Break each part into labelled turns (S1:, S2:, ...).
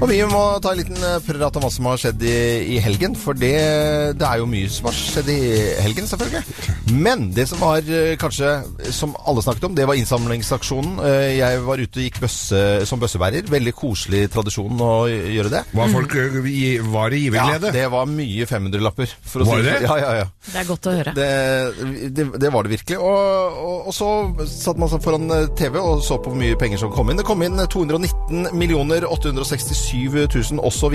S1: Og vi må ta en liten eh, prat om hva som har skjedd i, i helgen. For det, det er jo mye som har skjedd i helgen, selvfølgelig. Men det som var eh, kanskje som alle snakket om, det var innsamlingsaksjonen. Eh, Jeg var ute og gikk bøsse, som bøssebærer. Veldig koselig tradisjon å gjøre det.
S2: Var, folk, ø, i- var det
S1: Ja,
S2: giverglede?
S1: det var mye 500-lapper. for å
S2: Var
S1: si
S2: det?
S1: Ja, ja, ja.
S3: Det er godt å høre.
S1: Det, det, det var det virkelig. Og, og, og så satt man seg foran eh, TV og så på hvor mye penger som kom inn. Det kom inn 219 millioner 867 000 osv.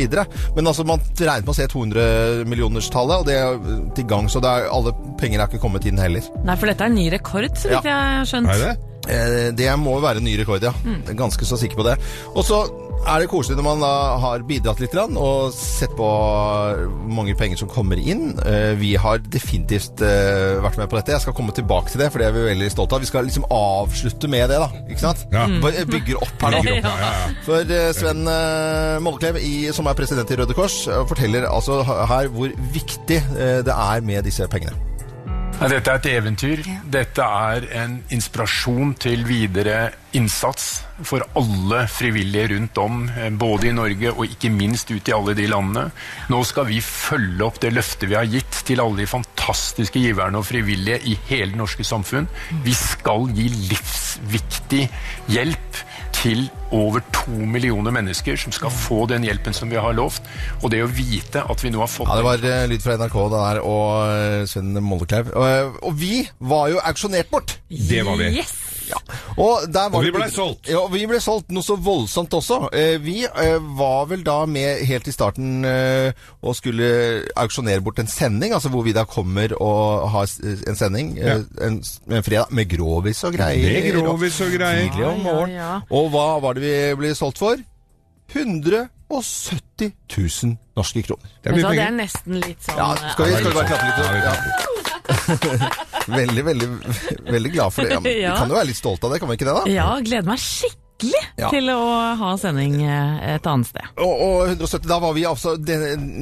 S1: Men altså, man regnet med å se 200 millionerstallet, og det er eh, til gang, så det er, alle penger er ikke kommet inn heller.
S3: Nei, for dette er en ny rekord, så vidt jeg har skjønt.
S2: Er det?
S1: Eh, Det må være ny rekord, ja. Jeg er Ganske så sikker på det. Og så er det koselig når man da har bidratt litt grann, og sett på hvor mange penger som kommer inn. Eh, Vi har definitivt eh, vært med på dette. Jeg skal komme tilbake til det, for det er vi veldig stolte av. Vi skal liksom avslutte med det, da. Ikke sant?
S2: Ja.
S1: Bare bygger opp her nå.
S2: Ja, ja, ja.
S1: For eh, Sven eh, Molleklev, i- som er president i Røde Kors, eh, forteller altså her hvor viktig eh, det er med disse pengene.
S4: Ja, dette er et eventyr. Dette er en inspirasjon til videre innsats for alle frivillige rundt om, eh, både i Norge og ikke minst ut i alle de landene. Nå skal vi følge opp det løftet vi har gitt til alle de fantastiske giverne og frivillige i hele det norske samfunn. Vi skal gi livsviktig hjelp til over to millioner mennesker som skal få den hjelpen som vi har lovt. Og det å vite at vi nå har fått
S1: Ja, det var eh, lyd fra NRK det der, og eh, Sven Mollekleiv. Og, og vi var jo auksjonert bort!
S2: Det var vi.
S3: Yes!
S1: Og, der var
S2: Og vi
S1: det-
S2: ble solgt.
S1: Ja, og vi ble solgt noe så voldsomt også. Eh, Vi eh, var vel da med helt i starten eh, og skulle auksjonere bort en sending, altså hvor vi da kommer og har s- en sending eh, en, s- en fredag med grovis og greier.
S2: Med grovis og greier.
S1: Tidlig om
S3: Ja, ja,
S1: morgenen.
S3: ja.
S1: Og hva var det vi ble solgt for? 170 000 norske kroner.
S2: Det
S3: Vet du hva, Altså,
S2: er mye
S3: det
S2: penger.
S3: er nesten litt sånn
S1: Ja, skal vi,
S2: Ja, det er
S1: skal vi bare
S2: litt
S1: klappe litt?
S2: sånn.
S1: eh, Ja. Veldig, veldig, veldig glad for det. Ja, men
S3: Ja.
S1: Vi kan jo være litt stolte av det, kan vi ikke det da?
S3: Ja, gleder meg skikkelig
S1: Ja.
S3: til å ha sending eh, et annet sted.
S1: Og, og 170, da var vi altså de,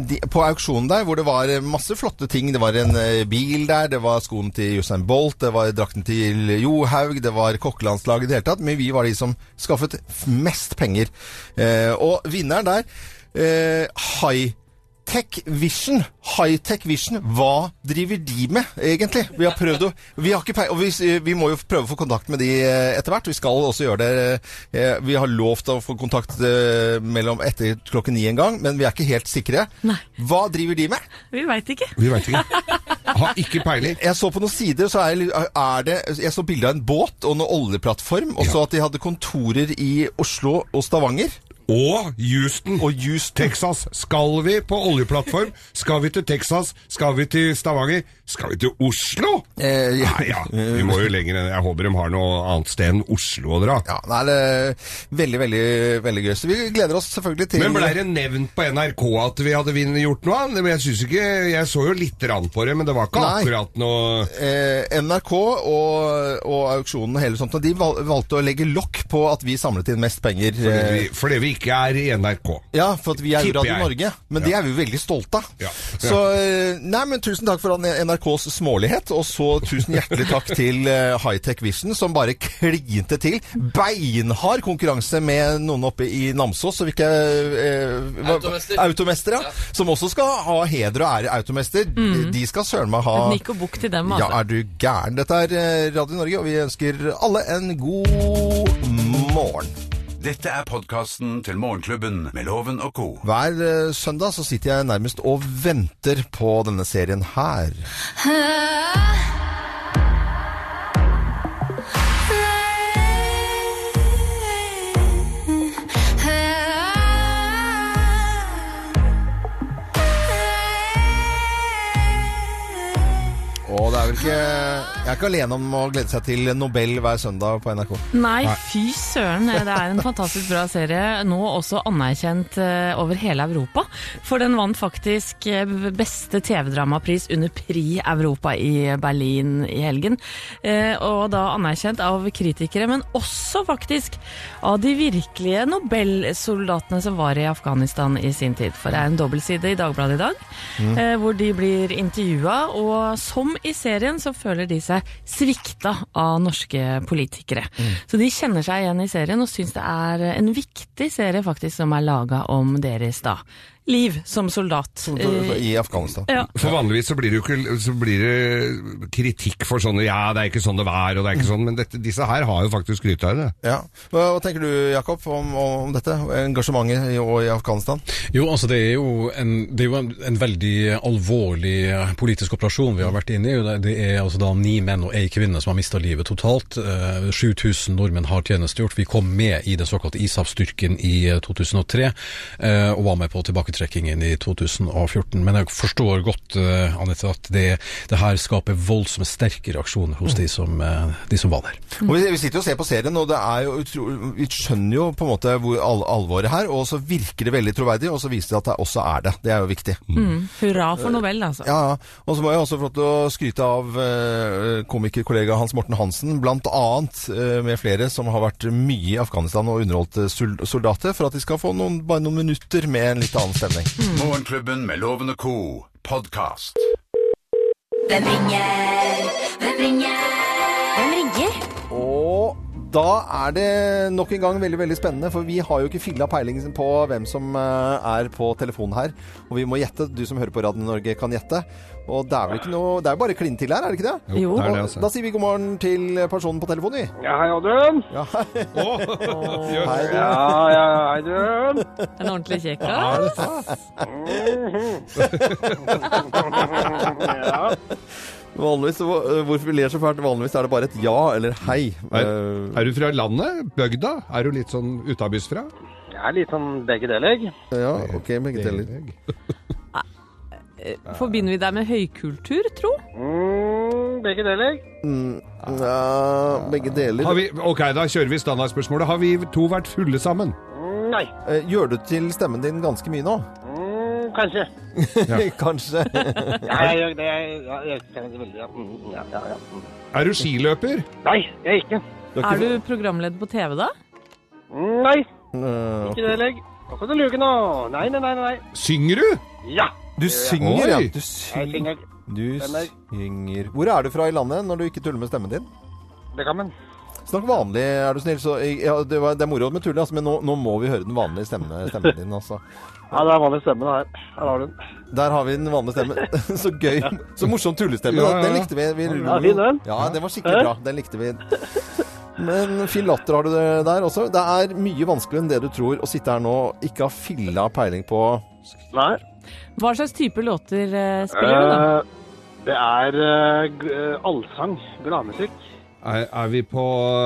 S1: de, på auksjonen der, hvor det var eh, masse flotte ting. Det var en eh, bil der, det var skoen til Jostein Bolt, det var drakten til Johaug, det var kokkelandslaget i det hele tatt. Men vi var de som skaffet f- mest penger. Eh, og vinneren der, eh, High Tech Vision, High Tech Vision, hva driver de med, egentlig? Vi har prøvd å Vi har ikke peil, og vi, s- vi må jo prøve å få kontakt med de eh, etter hvert. Vi skal også gjøre det. eh, Vi har lovt å få kontakt eh, mellom etter klokken ni en gang, men vi er ikke helt sikre.
S3: Nei.
S1: Hva driver de med?
S3: Vi veit ikke.
S2: Vi veit ikke. Har ikke peiling.
S1: Jeg så på noen sider, så er, er det Jeg så bilde av en båt og en oljeplattform, og så at de hadde kontorer i Oslo og Stavanger.
S2: Og Houston.
S1: Og Houston.
S2: Texas. Skal vi på oljeplattform? Skal vi til Texas? Skal vi til Stavanger? Skal vi til Oslo?
S1: Eh, ja.
S2: Nei, ja. Vi må jo lenger enn Jeg håper de har noe annet sted enn Oslo å dra.
S1: Ja, nei, det er veldig, veldig, veldig gøy. Så vi gleder oss selvfølgelig til
S2: Men blei det nevnt på NRK at vi hadde vinn- gjort noe? Men jeg synes ikke Jeg så jo litt rann på det, men det var ikke
S1: Nei.
S2: akkurat noe
S1: eh, NRK og, og auksjonen og hele sånt, og de val valgte å legge lokk på at vi samlet inn mest penger.
S2: fordi
S1: Eh,
S2: vi, fordi vi ikke er i NRK.
S1: ja, for at vi er jo
S2: Tipper
S1: Radio
S2: jeg.
S1: Norge, men det er vi jo veldig stolte av.
S2: Ja.
S1: Så eh, nei, men tusen takk for an- NRKs smålighet, og så tusen hjertelig takk til eh, Hightech Vision, som bare klinte til. Beinhard konkurranse med noen oppe i Namsos, så vi ikke eh, hva-
S5: Automester.
S1: Automester, ja. Som også skal ha heder og ære, automester. De skal søren meg ha
S3: Et nikk og bukk til dem,
S1: ja,
S3: altså.
S1: er du gæren? Dette er eh, Radio Norge, og vi ønsker alle en god morgen.
S6: Dette er podkasten til Morgenklubben med Loven og co.
S1: Hver eh, søndag så sitter jeg nærmest og venter på denne serien her. Og det er vel ikke Jeg er ikke alene om å glede seg til Nobel hver søndag på NRK.
S3: Nei, fy søren. Det er en fantastisk bra serie. Nå også anerkjent eh, over hele Europa. For den vant faktisk eh, beste TV-dramapris under Pri Europa i Berlin i helgen. Eh, Og da anerkjent av kritikere, men også faktisk av de virkelige Nobel-soldatene som var i Afghanistan i sin tid. For det er en dobbeltside i Dagbladet i dag, eh, hvor de blir intervjua. Og som i serien så føler de seg svikta av norske politikere. Så de kjenner seg igjen i serien og syns det er en viktig serie faktisk som er laga om deres da liv som soldat. Eh,
S1: I Afghanistan.
S3: ja.
S2: For vanligvis så blir det jo ikke så blir det kritikk for sånne Ja, det er ikke sånn det var, og det er ikke sånn Men dette, disse her har jo faktisk skrytt av det.
S1: Ja. Hva, hva tenker du, Jakob, om, om dette? Engasjementet i, og i Afghanistan?
S7: Jo, altså det er jo en, det er jo en, en veldig alvorlig eh, politisk operasjon vi har vært inne i. Det- Det er altså da ni menn og ei kvinne som har mista livet totalt. Eh, 7000 nordmenn har tjenestegjort. Vi kom med i den såkalte ISAF-styrken i eh, 2003, eh, og var med på tilbake tilbaketrakkingen i 2014. Men jeg forstår godt eh, Anette, at det, det her skaper voldsomt sterke reaksjoner hos de, som, eh, de som var der.
S3: Mm.
S1: Og vi, vi sitter jo og ser på serien, og det er jo utro, vi skjønner jo på en måte hvor al alvoret her, og så virker det veldig troverdig, og så viser det at det også er det. Det er jo viktig.
S3: Mm. Hurra for Nobel, altså.
S1: Ja, ja. Og så må jeg også få lov til å skryte av eh, komikerkollega Hans Morten Hansen, blant annet eh, med flere som har vært mye i Afghanistan og underholdt eh, sol- soldater, for at de skal få noen, bare noen minutter med en litt annen stemning.
S6: Morgenklubben med Loven og Co. podkast.
S8: Hvem ringer? Hvem ringer? Hvem ringer?
S1: Og da er det nok en gang veldig veldig spennende, for vi har jo ikke filla peilingen på hvem som eh, er på telefonen her. Og vi må gjette. Du som hører på Radio Norge, kan gjette. Og det er vel ikke noe Det er jo bare å kline til her, er det ikke det?
S3: Jo.
S2: det er det,
S1: Og
S2: altså.
S1: Da sier vi god morgen til personen på telefonen, vi.
S9: Ja, hei, Oddrun.
S1: Ja,
S2: Å,
S1: hei, du.
S9: Ja, ja, hei, Oddrun.
S3: En ordentlig kjekkas.
S9: Ja.
S1: Vanligvis, eh, hvorfor vi ler så fælt? Vanligvis er det bare et ja eller hei. Eh,
S2: Er du fra landet? Bygda? Er du litt sånn utabys fra?
S9: Jeg er litt sånn begge deler.
S1: Ja, ok, begge deler.
S3: Forbinder vi deg med høykultur, tro?
S9: Mm, begge deler.
S1: Ja, begge deler.
S2: Har vi, ok, da kjører vi standardspørsmålet. Har vi to vært fulle sammen?
S9: Mm, nei.
S1: Eh, Gjør du til stemmen din ganske mye nå?
S9: Mm, kanskje.
S1: Kanskje.
S9: Ja, jeg gjør det. Jeg, jeg, jeg kjenner det veldig. Ja. Mm, ja, ja, ja. Mm.
S2: Er du skiløper?
S9: Nei, jeg er ikke.
S3: Er du programleder på TV, da?
S9: Mm, nei,
S1: Eh,
S9: ikke deler. Nå kan du luke nå. Nei, nei, nei, nei.
S2: Synger du?
S9: Ja.
S1: Du synger, ja.
S2: Oi.
S1: Du
S9: Jeg
S1: synger.
S9: synger
S1: Du
S9: Stemmer.
S1: synger Hvor er du fra i landet når du ikke tuller med stemmen din?
S9: Bekammen.
S1: Snakk vanlig, er du snill. Så, ja, det, var, det er moro med tullet, altså, men nå, nå må vi høre den vanlige stemmen, stemmen din. Altså.
S9: Ja, det er vanlig stemme det her. Her har du den.
S1: Der har vi den vanlige stemmen. Så gøy. Så morsom tullestemme.
S2: Ja, ja, ja.
S1: Den likte vi. vi
S9: Ja, fin den.
S1: Ja, den var skikkelig bra. Den likte vi. Men fin latter har du det der også. Det er mye vanskeligere enn det du tror å sitte her nå og ikke ha filla peiling på
S9: Nei.
S3: Hva slags type låter eh, spiller du, da?
S9: Eh, det er eh, g- eh, allsang. Gladmusikk.
S2: Er, er vi på,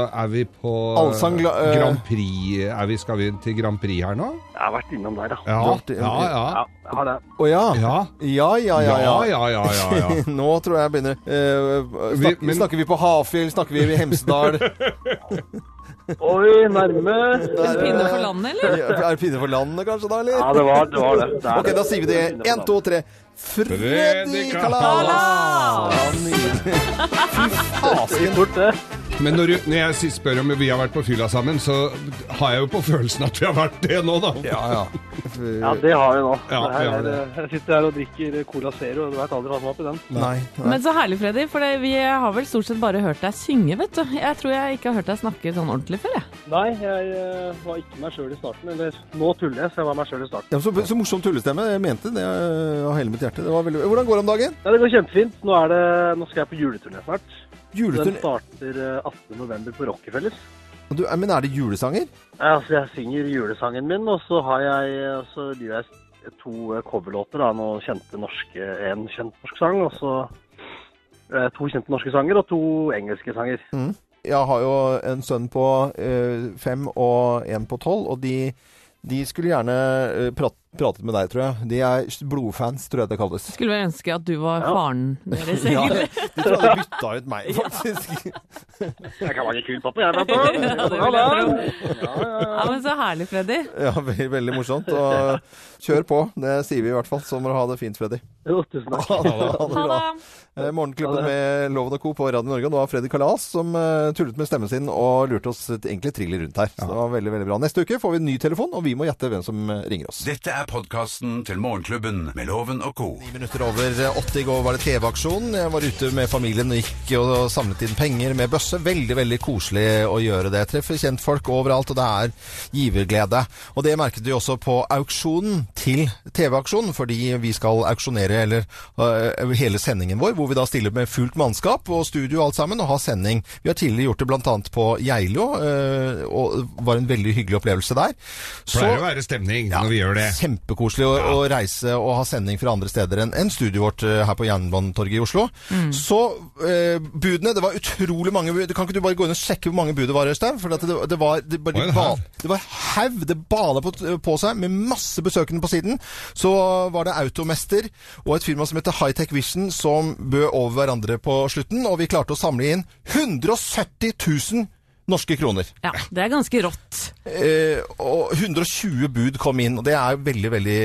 S2: er vi på
S1: Allsang, gla- eh.
S2: Grand Prix er vi, Skal vi til Grand Prix her nå?
S9: Jeg har vært innom der, da.
S2: Ja,
S1: Grand-
S2: ja, ja.
S9: Ja, jeg har det.
S1: Å ja.
S2: Ja,
S1: Ja, ja,
S2: ja,
S1: ja. ja.
S2: ja, ja, ja, ja.
S1: Nå tror jeg jeg begynner eh, snak,
S2: Vi- men-
S1: Snakker vi på Hafjell? Snakker vi i Hemsedal?
S9: Oi, nærme.
S1: Der,
S3: Pinne
S1: eh,
S3: for landet, eller?
S1: Ja, Er det pinne for landet, kanskje, da, eller?
S9: Ja, det var det. Var det. det, er
S1: Ok, da sier vi det.
S9: Pinne for
S1: Én,
S9: landet.
S1: to, tre. Freddy
S2: Freddy
S1: Kalas! Ja, nydelig. Fy fasken.
S9: Fort det.
S2: Men når, du, når jeg sist spør om vi har vært på fylla sammen, så har jeg jo på følelsen at vi har vært det nå, da.
S1: Ja, ja.
S9: Ja, det har vi nå.
S2: Ja,
S9: Det her
S2: vi har
S9: er- eh, Jeg sitter her og drikker Cola Zero, og du vet aldri hva som er oppi den.
S1: Nei. nei.
S3: Men så herlig, Freddy, for det, vi har vel stort sett bare hørt deg synge, vet du. Jeg tror jeg ikke har hørt deg snakke sånn ordentlig før, jeg.
S9: Nei, jeg eh, var ikke meg sjøl i starten. Eller nå tuller jeg, så jeg var meg sjøl i starten.
S1: Ja, så, så morsom tullestemme. Jeg mente det eh, av hele mitt hjerte. Det var veldig... Hvordan går det om dagen?
S9: Ja, det går kjempefint. Nå, er det, nå skal jeg på juleturné snart. Den
S1: Juleturné
S9: starter eh, 18. november på Rockefeller.
S1: du, eh, Men er det julesanger?
S9: Ja, så jeg synger julesangen min, og så har jeg eh, så gjør jeg to eh, coverlåter. da, Noen kjente norske, En kjent norsk sang, og så eh, to kjente norske sanger og to engelske sanger.
S1: Jeg har jo en sønn på eh, fem og en på tolv, og de, de skulle gjerne eh, prat, pratet med deg, tror jeg. De er blodfans, tror jeg det kalles.
S3: Skulle vel ønske at du var
S9: Ja.
S3: faren deres,
S1: Ja,
S3: egentlig.
S1: de tror jeg hadde bytta ut meg, faktisk.
S9: Jeg kan være kul pappa, jeg, vet du.
S3: Ja, det vil jeg tro.
S9: Ja, ja, ja.
S3: Ja, men så herlig, Freddy.
S1: Ja, veldig, veldig morsomt. Og kjør på, det sier vi i hvert fall. Så må du ha det fint, Freddy.
S9: Jo, tusen takk.
S1: Ha det, ha det
S3: Ha
S1: bra.
S3: det.
S1: Eh, Morgenklubben med Loven og Co. på Radio Norge. Og det var Freddy Kalas som eh, tullet med stemmen sin og lurte oss et- egentlig triller rundt her. Så det var veldig, veldig bra. Neste uke får vi en ny telefon, og vi må gjette hvem som eh, ringer oss.
S6: Dette er podkasten til Morgenklubben med Loven og Co.
S1: Ti minutter over åtte i går var det TV-aksjon. Jeg var ute med familien og gikk og samlet inn penger med bøsse. Veldig, veldig koselig å gjøre det. Treffer kjentfolk overalt, og det er giverglede. Og det merket vi også på auksjonen til TV-aksjonen, fordi vi skal auksjonere eller, øh, hele sendingen vår, hvor vi da stiller med fullt mannskap og studio og alt sammen, og har sending. Vi har tidligere gjort det bl.a. på Geilo, øh, og det var en veldig hyggelig opplevelse der. Så-
S2: Pleier å være stemning når vi gjør det.
S1: Kjempekoselig å, å reise og ha sending fra andre steder enn enn studioet vårt eh, her på Jernbanetorget i Oslo. Så eh, budene Det var utrolig mange bud. Kan ikke du bare gå inn og sjekke hvor mange bud det var, Øystein? For at det, det var det, bare,
S2: Oi, en
S1: ba,
S2: haug.
S1: det var haug. Det bala på, på seg med masse besøkende på på siden, så var det Automester og et firma som heter Hightech Vision som bød over hverandre på slutten, og vi klarte å samle inn 170 000 norske kroner.
S3: Ja, det er ganske rått.
S1: Eh, og 120 bud kom inn, og det er veldig, veldig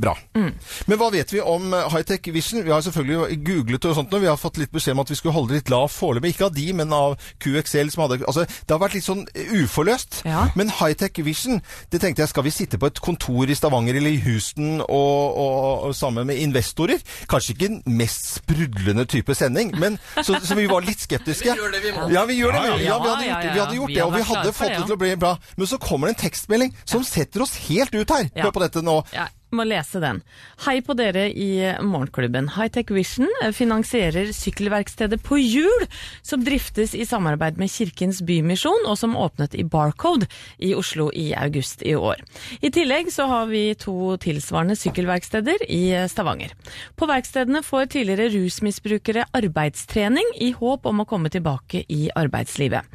S1: bra.
S3: Mm.
S1: Men hva vet vi om eh, Hightech Vision? Vi har selvfølgelig googlet og sånt, og vi har fått litt beskjed om at vi skulle holde det litt lav foreløpig. Ikke av de, men av QXL som hadde Altså, det har vært litt sånn eh, uforløst.
S3: Ja.
S1: Men Hightech Vision, det tenkte jeg, skal vi sitte på et kontor i Stavanger eller i Houston og, og, og sammen med investorer? Kanskje ikke den mest sprudlende type sending, men så, så vi var litt skeptiske. Vi gjør det, vi må. Ja, vi gjør det. vi. Ja, vi hadde
S3: Ja, ja,
S1: gjort, vi hadde gjort
S3: ja. Vi
S1: det, og
S3: hadde
S1: vi
S3: vært
S1: hadde
S3: klare for
S1: fått
S3: det,
S1: det
S3: ja.
S1: til å bli bra. Men så kommer det en tekstmelding som setter oss helt ut her.
S3: Ja.
S1: Hør på dette nå.
S3: Ja, må lese den. Hei på dere i Morgenklubben. Hightech Vision finansierer sykkelverkstedet På Hjul, som driftes i samarbeid med Kirkens Bymisjon, og som åpnet i Barcode i Oslo i august i år. I tillegg så har vi to tilsvarende sykkelverksteder i Stavanger. På verkstedene får tidligere rusmisbrukere arbeidstrening i håp om å komme tilbake i arbeidslivet.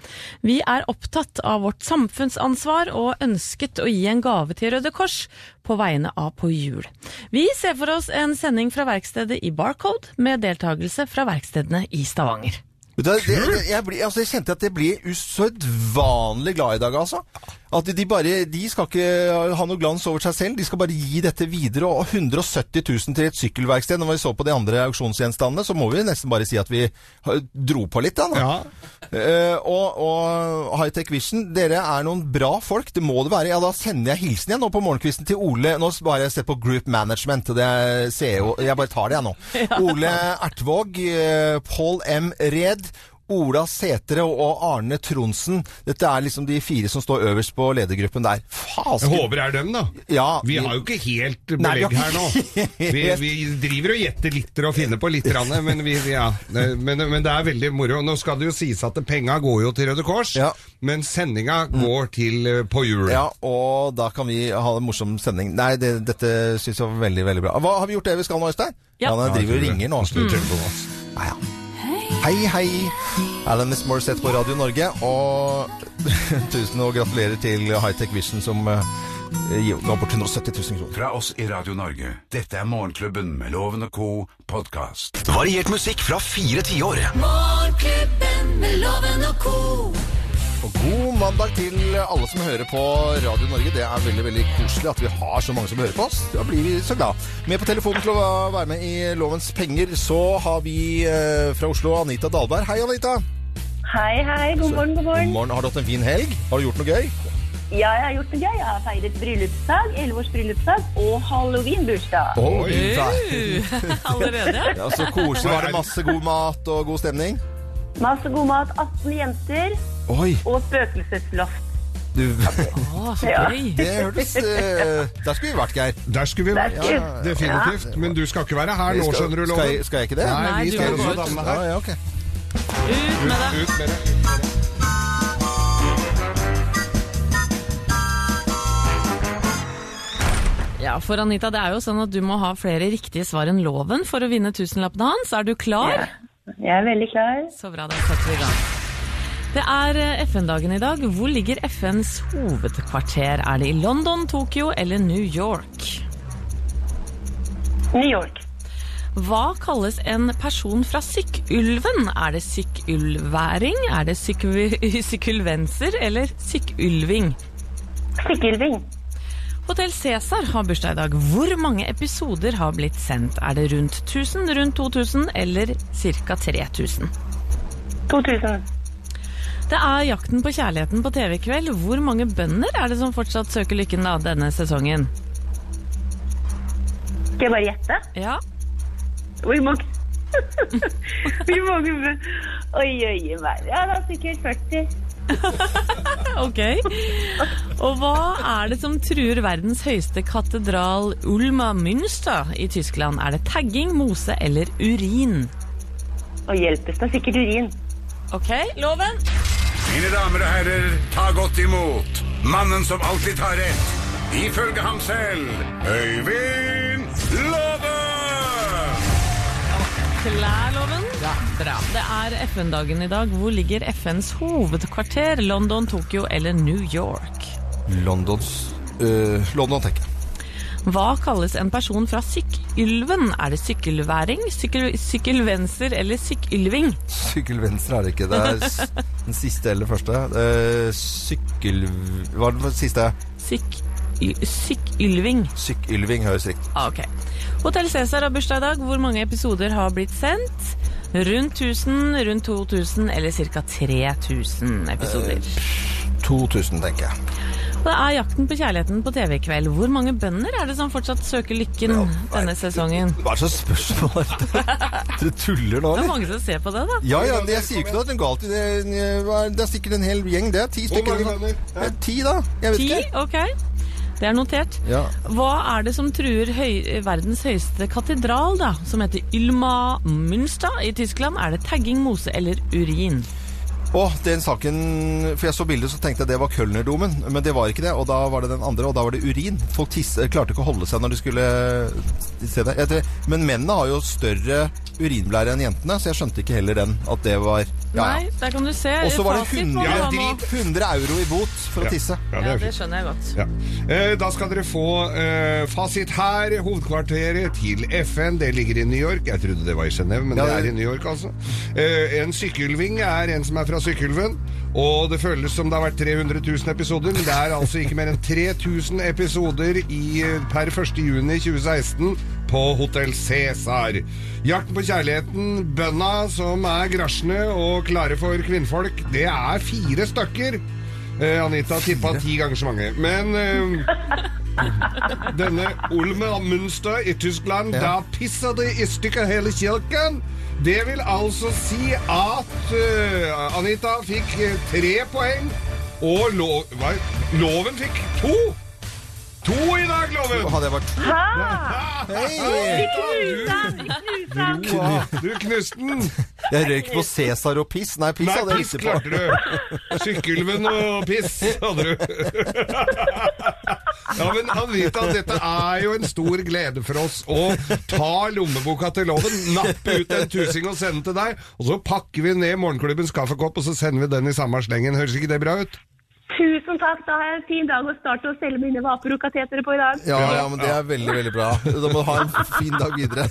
S3: Vi er opptatt av vårt samfunnsansvar og ønsket å gi en gave til Røde Kors på vegne av På hjul. Vi ser for oss en sending fra verkstedet i Barcode med deltakelse fra verkstedene i Stavanger.
S1: Vet du hva, det, det, jeg, blir- altså, jeg kjente at jeg blir usedvanlig glad i dag, altså. At de bare De skal ikke ha noe glans over seg selv, de skal bare gi dette videre. Og 170 000 til et sykkelverksted. Når vi så på de andre auksjonsgjenstandene, så må vi nesten bare si at vi eh, dro på litt, da. nå.
S2: Ja.
S1: Eh, og og Hightech Vision, dere er noen bra folk. Det må det være. Ja, Da sender jeg hilsen igjen nå på morgenkvisten til Ole. Nå s- bare jeg ser på Group Management. Det er CEO. Jeg bare tar det, jeg nå. Ole Ertvåg, eh, Pål M. Red. Ola Setre og Arne Tronsen. Dette er liksom de fire som står øverst på ledergruppen der.
S2: Jeg
S1: Fasken!
S2: håper det er dem, da.
S1: Ja,
S2: Vi
S1: Ah, vi-
S2: har jo ikke helt
S1: Nei, vi har
S2: belegg her nå.
S1: ikke
S2: Vi, vi driver og gjetter litt og finner på litt, grann, men, vi, ja. men, men det er veldig moro. Nå skal det jo sies at penga går jo til Røde Kors,
S1: Ja.
S2: men sendinga går til eh, På hjul.
S1: Ja, og da kan vi ha en morsom sending. Nei, det, dette syns jeg var veldig, veldig bra. Hva Har vi gjort det vi skal nå, Øystein?
S3: Ja.
S1: han driver og ringer nå.
S2: Slår telefonen, altså.
S1: Ja, ja. Hei, hei. Alanis Morissette på Radio Norge. Og tusen og gratulerer til Hightech Vision som eh, gir- ga bort 170 000 kroner.
S6: Fra oss i Radio Norge. Dette er Morgenklubben med Loven og co. podkast.
S10: Variert musikk fra fire tiår.
S11: Morgenklubben med Loven og co.
S1: Og god mandag til alle som hører på Radio Norge. Det er veldig veldig koselig at vi har så mange som hører på oss. Da blir vi så glad. Med på telefonen til å være med i Lovens penger, så har vi eh, fra Oslo Anita Dahlberg. Hei, Anita.
S9: Hei, hei. God morgen, god
S1: God
S9: morgen.
S1: morgen. Har du hatt en fin helg? Har du gjort noe gøy?
S9: Ja, jeg har gjort det gøy. Jeg har feiret bryllupsdag, 11 års bryllupsdag og halloweenbursdag.
S1: Oi.
S3: Allerede?
S1: Ja, så koselig. Var det masse god mat og god stemning?
S9: Masse god mat, 18 jenter
S1: Oi,
S9: og spøkelsesloft.
S1: du,
S3: Å, så gøy.
S1: det hørtes eh, Der skulle vi vært, Geir.
S2: Der skulle vi vært.
S9: Der skulle-
S2: Ja, Definitivt. Men du skal ikke være her nå,
S1: Skal-
S2: skjønner du,
S1: skal jeg-
S2: Loven.
S1: Skal jeg ikke det?
S2: Nei,
S3: Nei,
S2: vi
S3: du
S2: skal
S3: må
S2: også
S3: gå
S2: damene
S1: Ja,
S2: her.
S1: ja, ok.
S3: Ut med det.
S2: Ut med det.
S3: Ja, for Anita, det er jo sånn at du må ha flere riktige svar enn loven for å vinne tusenlappene hans. Er du klar?
S9: Jeg er veldig klar.
S3: Så bra, da setter vi i gang. Det er eh, FN-dagen i dag. Hvor ligger FNs hovedkvarter? Er det i London, Tokyo eller New York?
S9: New York.
S3: Hva kalles en person fra Sykkylven? Er det sykkylværing, er det sykv- sykylvenser eller sykkylving?
S9: Sykkylving.
S3: Hotell Cæsar har bursdag i dag. Hvor mange episoder har blitt sendt? Er det rundt 1000, rundt 2000 eller ca. 3000?
S9: 2000.
S3: Det er Jakten på kjærligheten på TV i kveld. Hvor mange bønder er det som fortsatt søker lykken da denne sesongen?
S9: Skal jeg bare gjette?
S3: Ja,
S9: Hvor mange Hvor mange Oi, oi, meg. Ja, da sikkert 40.
S3: ok. Og hva er det som truer verdens høyeste katedral Ulma Münster i Tyskland? Er det tagging, mose eller urin?
S9: Og hjelpes da sikkert urin.
S3: Ok, loven.
S6: Mine damer og herrer, ta godt imot mannen som alltid tar rett. Ifølge ham selv Øyvind Låve!
S3: Klær, loven. Bra. Det er FN-dagen i dag. Hvor ligger FNs hovedkvarter? London, Tokyo eller New York?
S1: eh, Londons øh, London, tenker jeg.
S3: Hva kalles en person fra Sykkylven? Er det sykkelværing, sykkel, sykkelvenser eller sykkylving?
S1: Sykkelvenstre er det ikke. Det er s- den siste eller første. Eh, sykkel... Hva var den siste?
S3: Syk, y- sykkylving.
S1: Sykkylving høres riktig
S3: Ah, ok. Hotell Cæsar har bursdag i dag. Hvor mange episoder har blitt sendt? Rundt 1000, rundt 2000 eller ca. 3000 episoder.
S1: Eh, 2000, tenker jeg.
S3: Og det er Jakten på kjærligheten på TV i kveld. Hvor mange bønder er det som fortsatt søker lykken Mm, denne sesongen?
S1: Hva er det slags spørsmål er dette? Du tuller nå,
S3: Det er
S1: eller?
S3: mange som ser på det, da.
S1: Ja, ja, det, jeg sier jo ikke noe galt. i Det, det er sikkert en hel gjeng, det. Ti
S2: Hvor
S1: stykker.
S2: mange venner?
S1: Eh, Ti, da? Jeg vet
S3: Ti?
S1: ikke.
S3: Ok. Det er notert.
S1: Ja.
S3: Hva er det som truer høy, verdens høyeste katedral, da? Som heter Ylma Münster i Tyskland. Er det tagging, mose eller urin?
S1: Å, den saken For jeg så bildet, så tenkte jeg det var Kølnerdomen. Men det var ikke det. Og da var det den andre, og da var det urin. Folk tisse, eh, klarte ikke å holde seg når de skulle eh, se det. Jeg tror, men mennene har jo større urinblære enn jentene, så jeg skjønte ikke heller den. At det var Ja,
S3: Nei,
S1: ja.
S3: der kan du se.
S1: Og så var det
S3: Fasit på
S1: 100,
S3: hva
S1: ja,
S3: man-
S1: 100 euro i bot for å tisse.
S2: Ja,
S3: Ja,
S2: det er
S3: det
S2: fint.
S3: skjønner jeg godt.
S2: Ja. Eh, Da skal dere få eh, fasit her. Hovedkvarteret til FN, det ligger i New York. Jeg trodde det var i Genéve, men
S1: Ja,
S2: det
S1: det-
S2: er i New York, altså. Eh, En sykkelving er en som er fra Sykkylven. Og det føles som det har vært 300 000 episoder, men det er altså ikke mer enn 3000 episoder i, eh, per 1. juni 2016 på Hotell Cæsar. Jakten på kjærligheten, bønda som er grasjene og klare for kvinnfolk, det er fire stykker. Eh, Anita tippa ti ganger så mange. Men eh, denne Ulmer Münster i Tyskland, da pisser de i stykker hele kirken. Det vil altså si at eh, Anita fikk eh, tre poeng, og lo hva? Loven fikk to. To i dag, Loven!
S1: Hadde jeg vært Hei!
S2: Anita, du, du knuste den.
S1: Jeg røyk på Cæsar og piss. Nei, piss
S2: Nei,
S1: hadde jeg
S2: piss
S1: riktig på.
S2: klarte du. Sykkylven og piss hadde du. Ja, men Anita, dette er jo en stor glede for oss å ta lommeboka til loven, nappe ut en tusing og sende til deg, og så pakker vi ned morgenklubbens kaffekopp, og så sender vi den i samme slengen. Høres ikke det bra ut?
S9: Tusen takk, da har jeg en fin dag å starte å selge mine vaper og katetere på i dag.
S1: Ja, ja, men det er veldig, veldig bra. Da må du ha en fin dag videre.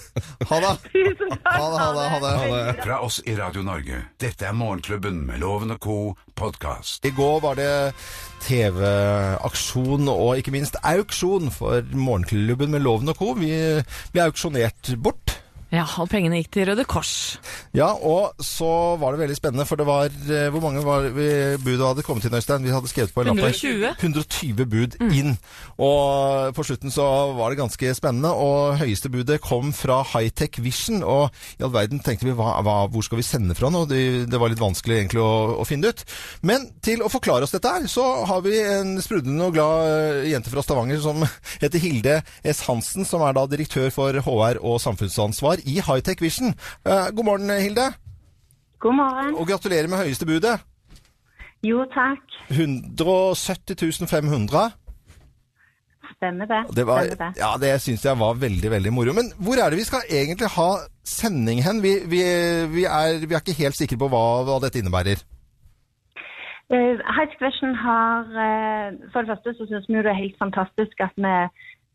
S1: Ha det.
S9: Tusen takk.
S1: Ha det, ha det, ha det.
S6: Fra oss i Radio Norge. Dette er Morgenklubben med Loven og co. podkast.
S1: I går var det TV-aksjon og ikke minst auksjon for Morgenklubben med Loven og co. Vi ble auksjonert bort.
S3: Ja, og pengene gikk til Røde Kors.
S1: Ja, og så var det veldig spennende, for det var eh, Hvor mange var vi, bud hadde kommet inn, Øystein? Vi hadde skrevet på en lapp her.
S3: 120.
S1: 120 bud inn. Og på slutten så var det ganske spennende, og høyeste budet kom fra Hightech Vision. Og i all verden tenkte vi hva, hva, hvor skal vi sende fra nå? Det, det var litt vanskelig egentlig å, å finne det ut. Men til å forklare oss dette her, så har vi en sprudlende og glad eh, jente fra Stavanger som heter Hilde S. Hansen, som er da direktør for HR og samfunnsansvar i Hightech Vision. Eh, God morgen, Hilde,
S9: God morgen.
S1: og gratulerer med høyeste budet.
S9: Jo, takk.
S1: 170 500.
S9: Stemmer det.
S1: Det var,
S9: Stemmer det.
S1: ja, det syns jeg var veldig, veldig moro. Men hvor er det vi skal egentlig ha sending hen? Vi, vi, vi, er, vi er ikke helt sikre på hva, hva dette innebærer.
S9: Uh, Heidskversen har eh, For det første så syns vi jo det er helt fantastisk at vi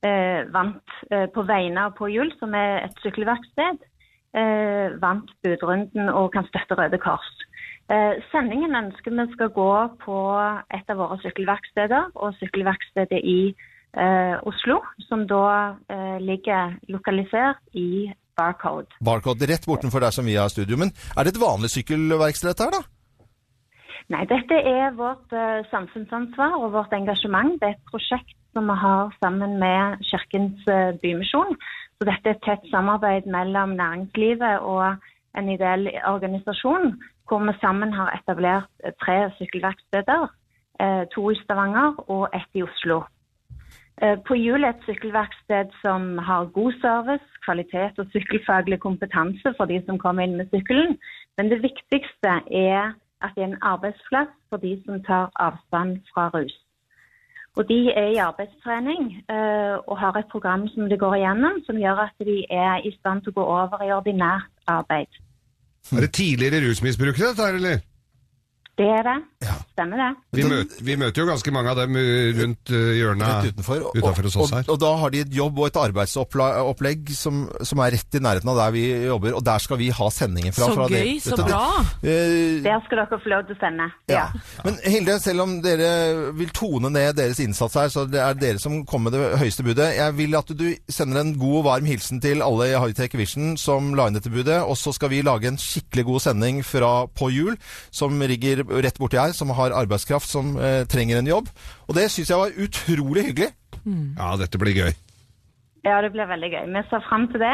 S9: eh, vant eh, på vegne av På Hjul, som er et sykkelverksted, eh, vant budrunden og kan støtte Røde Kors. Eh, sendingen ønsker vi skal gå på et av våre sykkelverksteder, og sykkelverkstedet i eh, Oslo, som da eh, ligger lokalisert i Barcode.
S1: Barcode rett bortenfor der som vi har studio. Men er det et vanlig sykkelverksted dette her, da?
S9: Nei, dette er vårt eh, samfunnsansvar og vårt engasjement. Det er et prosjekt som vi har sammen med Kirkens eh, Bymisjon. Så dette er et tett samarbeid mellom næringslivet og en ideell organisasjon, hvor vi sammen har etablert eh, tre sykkelverksteder. eh, To i Stavanger og ett i Oslo. Eh, På Hjul er et sykkelverksted som har god service, kvalitet og sykkelfaglig kompetanse for de som kommer inn med sykkelen. Men det viktigste er at det er en arbeidsplass for de som tar avstand fra rus. Og de er i arbeidstrening eh, og har et program som de går igjennom, som gjør at de er i stand til å gå over i ordinært arbeid.
S2: Er det tidligere rusmisbrukere dette her, eller?
S9: Det er det. Stemmer det.
S2: Vi, møter, vi møter jo ganske mange av dem uh, rundt uh, hjørnet
S1: Rett utenfor. Og,
S2: utenfor hos oss her.
S1: Og, og da har de et jobb og et arbeidsopplegg som, som er rett i nærheten av der vi jobber, og der skal vi ha sendinger fra.
S3: Så
S1: fra det-
S3: gøy, så
S1: dette-
S3: bra.
S1: Eh,
S9: Der skal dere få lov til å sende.
S1: ja. Men Hilde, selv om dere vil tone ned deres innsats her, så det er dere som kommer med det høyeste budet. Jeg vil at du sender en god og varm hilsen til alle i Hightech Vision som la inn dette budet, og så skal vi lage en skikkelig god sending fra på jul, som rigger rett borti her, som har arbeidskraft, som eh, trenger en jobb. Og det syns jeg var utrolig hyggelig.
S2: Ja, dette blir gøy.
S9: Ja, det blir veldig gøy. Vi ser fram til det.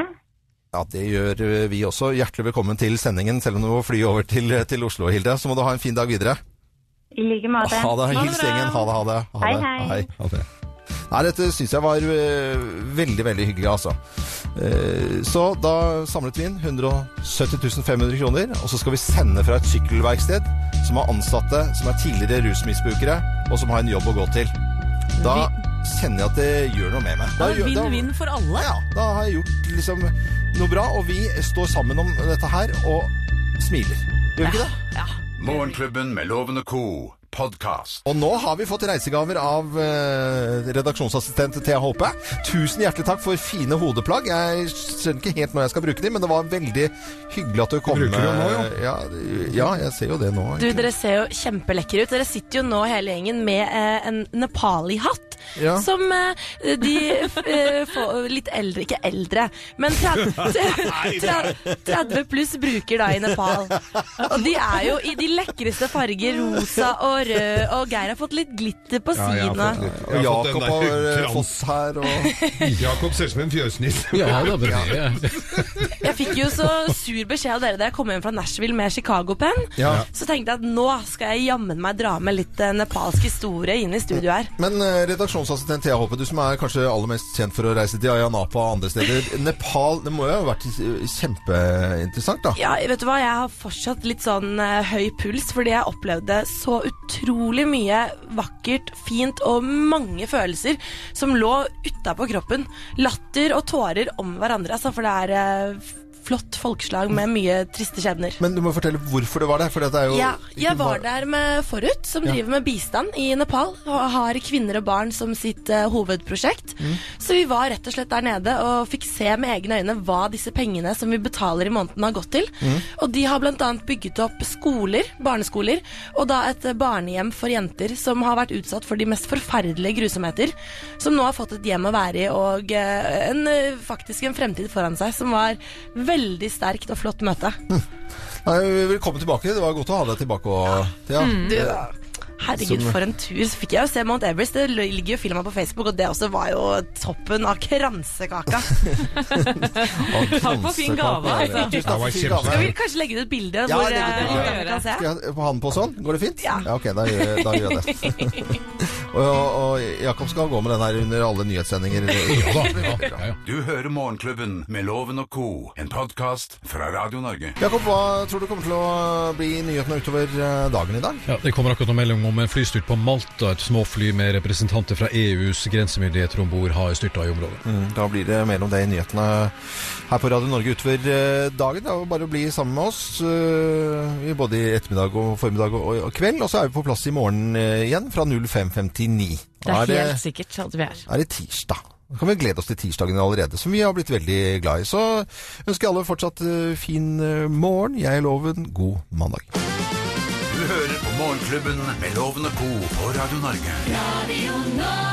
S1: Ja, det gjør eh, vi også. Hjertelig velkommen til sendingen, selv om du må fly over til, eh, til Oslo, Hilde. Så må du ha en fin dag videre.
S9: I like måte.
S1: Ha det.
S3: Ha det
S1: Hils
S3: bra.
S1: gjengen. Ha det, ha det. Ha
S9: Hei,
S1: det.
S9: hei.
S2: Ha det.
S1: Nei, dette syns jeg var eh, veldig, veldig hyggelig, altså. Eh, så da samlet vi inn 170 500 kroner, og så skal vi sende fra et sykkelverksted som har ansatte som er tidligere rusmisbrukere, og som har en jobb å gå til. Da kjenner jeg at det gjør noe med meg.
S3: Det
S1: Da
S3: er
S1: gjør- da-
S3: Vinn-vinn for alle.
S1: ja, da har jeg gjort liksom noe bra, og vi står sammen om dette her og smiler. Gjør vi ikke det?
S3: Ja.
S6: Morgenklubben med Loven og Co. Podcast.
S1: Og nå har vi fått reisegaver av eh, redaksjonsassistent Thea Håpe. Tusen hjertelig takk for fine hodeplagg. Jeg skjønner ikke helt når jeg skal bruke dem, men det var veldig hyggelig at du kom. eh,
S2: bruker dem nå, jo.
S1: ja, ja, jeg ser jo det nå.
S8: Du, Dere ser jo kjempelekre ut. Dere sitter jo nå hele gjengen med eh, en nepali-hatt.
S1: Ja.
S8: Som eh, de f, eh, få- litt eldre Ikke eldre, men 30, 30 pluss bruker da i Nepal. Og de er jo i de lekreste farger. Rosa og rød. Og Geir har fått litt glitter på
S2: Ja, jeg har
S8: sidene.
S2: fått litt- jeg
S1: Og
S2: har fått den
S1: Jakob
S2: der
S1: har eh,
S2: krans-
S1: Foss her og
S2: Jakob ser ut som en fjøsnisse.
S7: Ja, det er bare det.
S8: Jeg fikk jo så sur beskjed av dere da jeg kom hjem fra Nashville med Chicago-penn.
S1: Ja.
S8: Så tenkte jeg at nå skal jeg jammen meg dra med litt eh, nepalsk historie inn i studio her.
S1: Men eh, redaksjonsassistent Thea Håpe, du som er kanskje aller mest kjent for å reise til Ayanapa og andre steder. Nepal, det må jo ha vært eh, kjempeinteressant, da?
S8: Ja, vet du hva, jeg har fortsatt litt sånn eh, høy puls fordi jeg opplevde så utrolig mye vakkert, fint og mange følelser som lå utapå kroppen. Latter og tårer om hverandre, altså, for det er eh, f- flott folkeslag med mye triste skjebner.
S1: Men du må fortelle hvorfor du var der, for det er jo
S8: Ja, jeg
S1: ikke
S8: var
S1: bare-
S8: der med Forut, som driver med bistand i Nepal. Og har kvinner og barn som sitt eh, hovedprosjekt.
S1: Mm.
S8: Så vi var rett og slett der nede og fikk se med egne øyne hva disse pengene som vi betaler i måneden, har gått til.
S1: Mm.
S8: Og de har bl.a. bygget opp skoler, barneskoler, og da et eh, barnehjem for jenter som har vært utsatt for de mest forferdelige grusomheter. Som nå har fått et hjem å være i og eh, en, eh, faktisk en fremtid foran seg, som var veldig sterkt og flott møte.
S1: Nei, velkommen tilbake. Det var godt å ha deg tilbake, og, Eh, Thea.
S8: Du, herregud, for en tur. Så fikk jeg jo se Mount Everest. Det ligger jo filma på Facebook, og det også var jo toppen av kransekaka.
S3: Takk for fin gave, altså.
S1: Tusen takk for fin
S2: Ja,
S8: Jeg
S2: det var
S1: gave.
S8: vil kanskje legge ut et bilde
S1: Ja,
S8: hvor
S1: legg ut
S8: eh,
S1: bilde.
S8: lytterne kan se.
S1: Skal jeg ha han på sånn? Går det fint?
S8: Ja.
S1: ok, da gjør, da gjør jeg det. og, og Jakob skal gå med den her under alle nyhetssendinger.
S7: Ja da. Ja, ja, ja.
S6: Du hører Morgenklubben med Loven og Co. En podkast fra Radio Norge.
S1: Jakob, hva tror du kommer til å bli nyhetene utover eh, dagen i dag?
S7: Ja, det kommer akkurat en melding om en flystyrt på Malta. Et småfly med representanter fra E EUs grensemyndigheter om bord har styrta i området.
S1: Mm, Da blir det mer om det i nyhetene her på Radio Norge utover eh, dagen. Det er jo bare å bli sammen med oss eh, i både i ettermiddag og formiddag og, og kveld. Og så er vi på plass i morgen eh, igjen fra 05.59.
S3: Det
S1: Da
S3: er helt sikkert at vi er.
S1: er det tirsdag. Da kan vi glede oss til tirsdagen allerede, som vi har blitt veldig glad i. Så ønsker jeg alle fortsatt eh, fin eh, morgen. Jeg er Loven. God mandag.
S6: Du hører på Morgenklubben med Loven og Co. på Radio Norge.
S11: Radio Norge.